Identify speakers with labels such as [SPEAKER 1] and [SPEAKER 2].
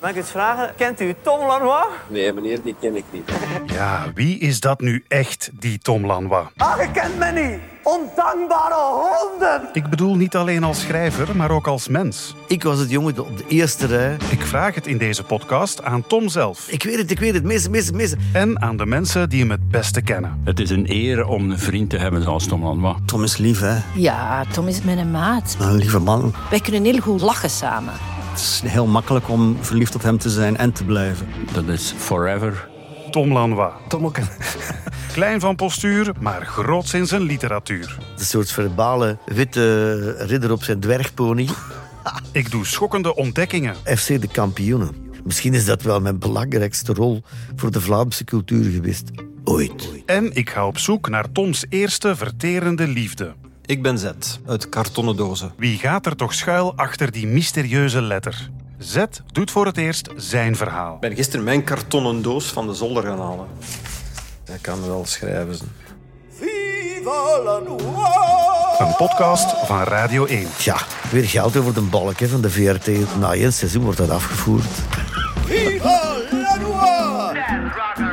[SPEAKER 1] Mag ik iets vragen? Kent u Tom Lanois?
[SPEAKER 2] Nee, meneer, die ken ik niet.
[SPEAKER 3] Ja, wie is dat nu echt, die Tom Lanois?
[SPEAKER 1] Ah, je kent me niet! Ondankbare honden!
[SPEAKER 3] Ik bedoel niet alleen als schrijver, maar ook als mens.
[SPEAKER 4] Ik was het jongen op de eerste rij.
[SPEAKER 3] Ik vraag het in deze podcast aan Tom zelf
[SPEAKER 4] Ik weet het, ik weet het. Mis, mis, mis.
[SPEAKER 3] en aan de mensen die hem het beste kennen.
[SPEAKER 5] Het is een eer om een vriend te hebben zoals Tom Lanois.
[SPEAKER 4] Tom is lief, hè.
[SPEAKER 6] Ja, Tom is mijn maat.
[SPEAKER 4] Een lieve man.
[SPEAKER 6] Wij kunnen heel goed lachen samen.
[SPEAKER 4] Het is heel makkelijk om verliefd op hem te zijn en te blijven.
[SPEAKER 5] Dat is forever.
[SPEAKER 3] Tom Lanois.
[SPEAKER 4] Tom ook een,
[SPEAKER 3] Klein van postuur, maar groots in zijn literatuur.
[SPEAKER 4] soort verbale witte ridder op zijn dwergpony.
[SPEAKER 3] Ik doe schokkende ontdekkingen.
[SPEAKER 4] FC de kampioenen. Misschien is dat wel mijn belangrijkste rol voor de Vlaamse cultuur geweest. Ooit.
[SPEAKER 3] En ik ga op zoek naar Toms eerste verterende liefde.
[SPEAKER 7] Ik ben Z, uit kartonnen dozen.
[SPEAKER 3] Wie gaat er toch schuil achter die mysterieuze letter? Z doet voor het eerst zijn verhaal.
[SPEAKER 7] Ik ben gisteren mijn kartonnen doos van de zolder gaan halen. Dat kan wel schrijven. Ze.
[SPEAKER 1] Viva Lanois!
[SPEAKER 3] Een podcast van Radio 1.
[SPEAKER 4] Tja, weer geld over de balk hè, van de VRT. Na één seizoen wordt dat afgevoerd.
[SPEAKER 1] Viva Lanois!
[SPEAKER 8] rocker.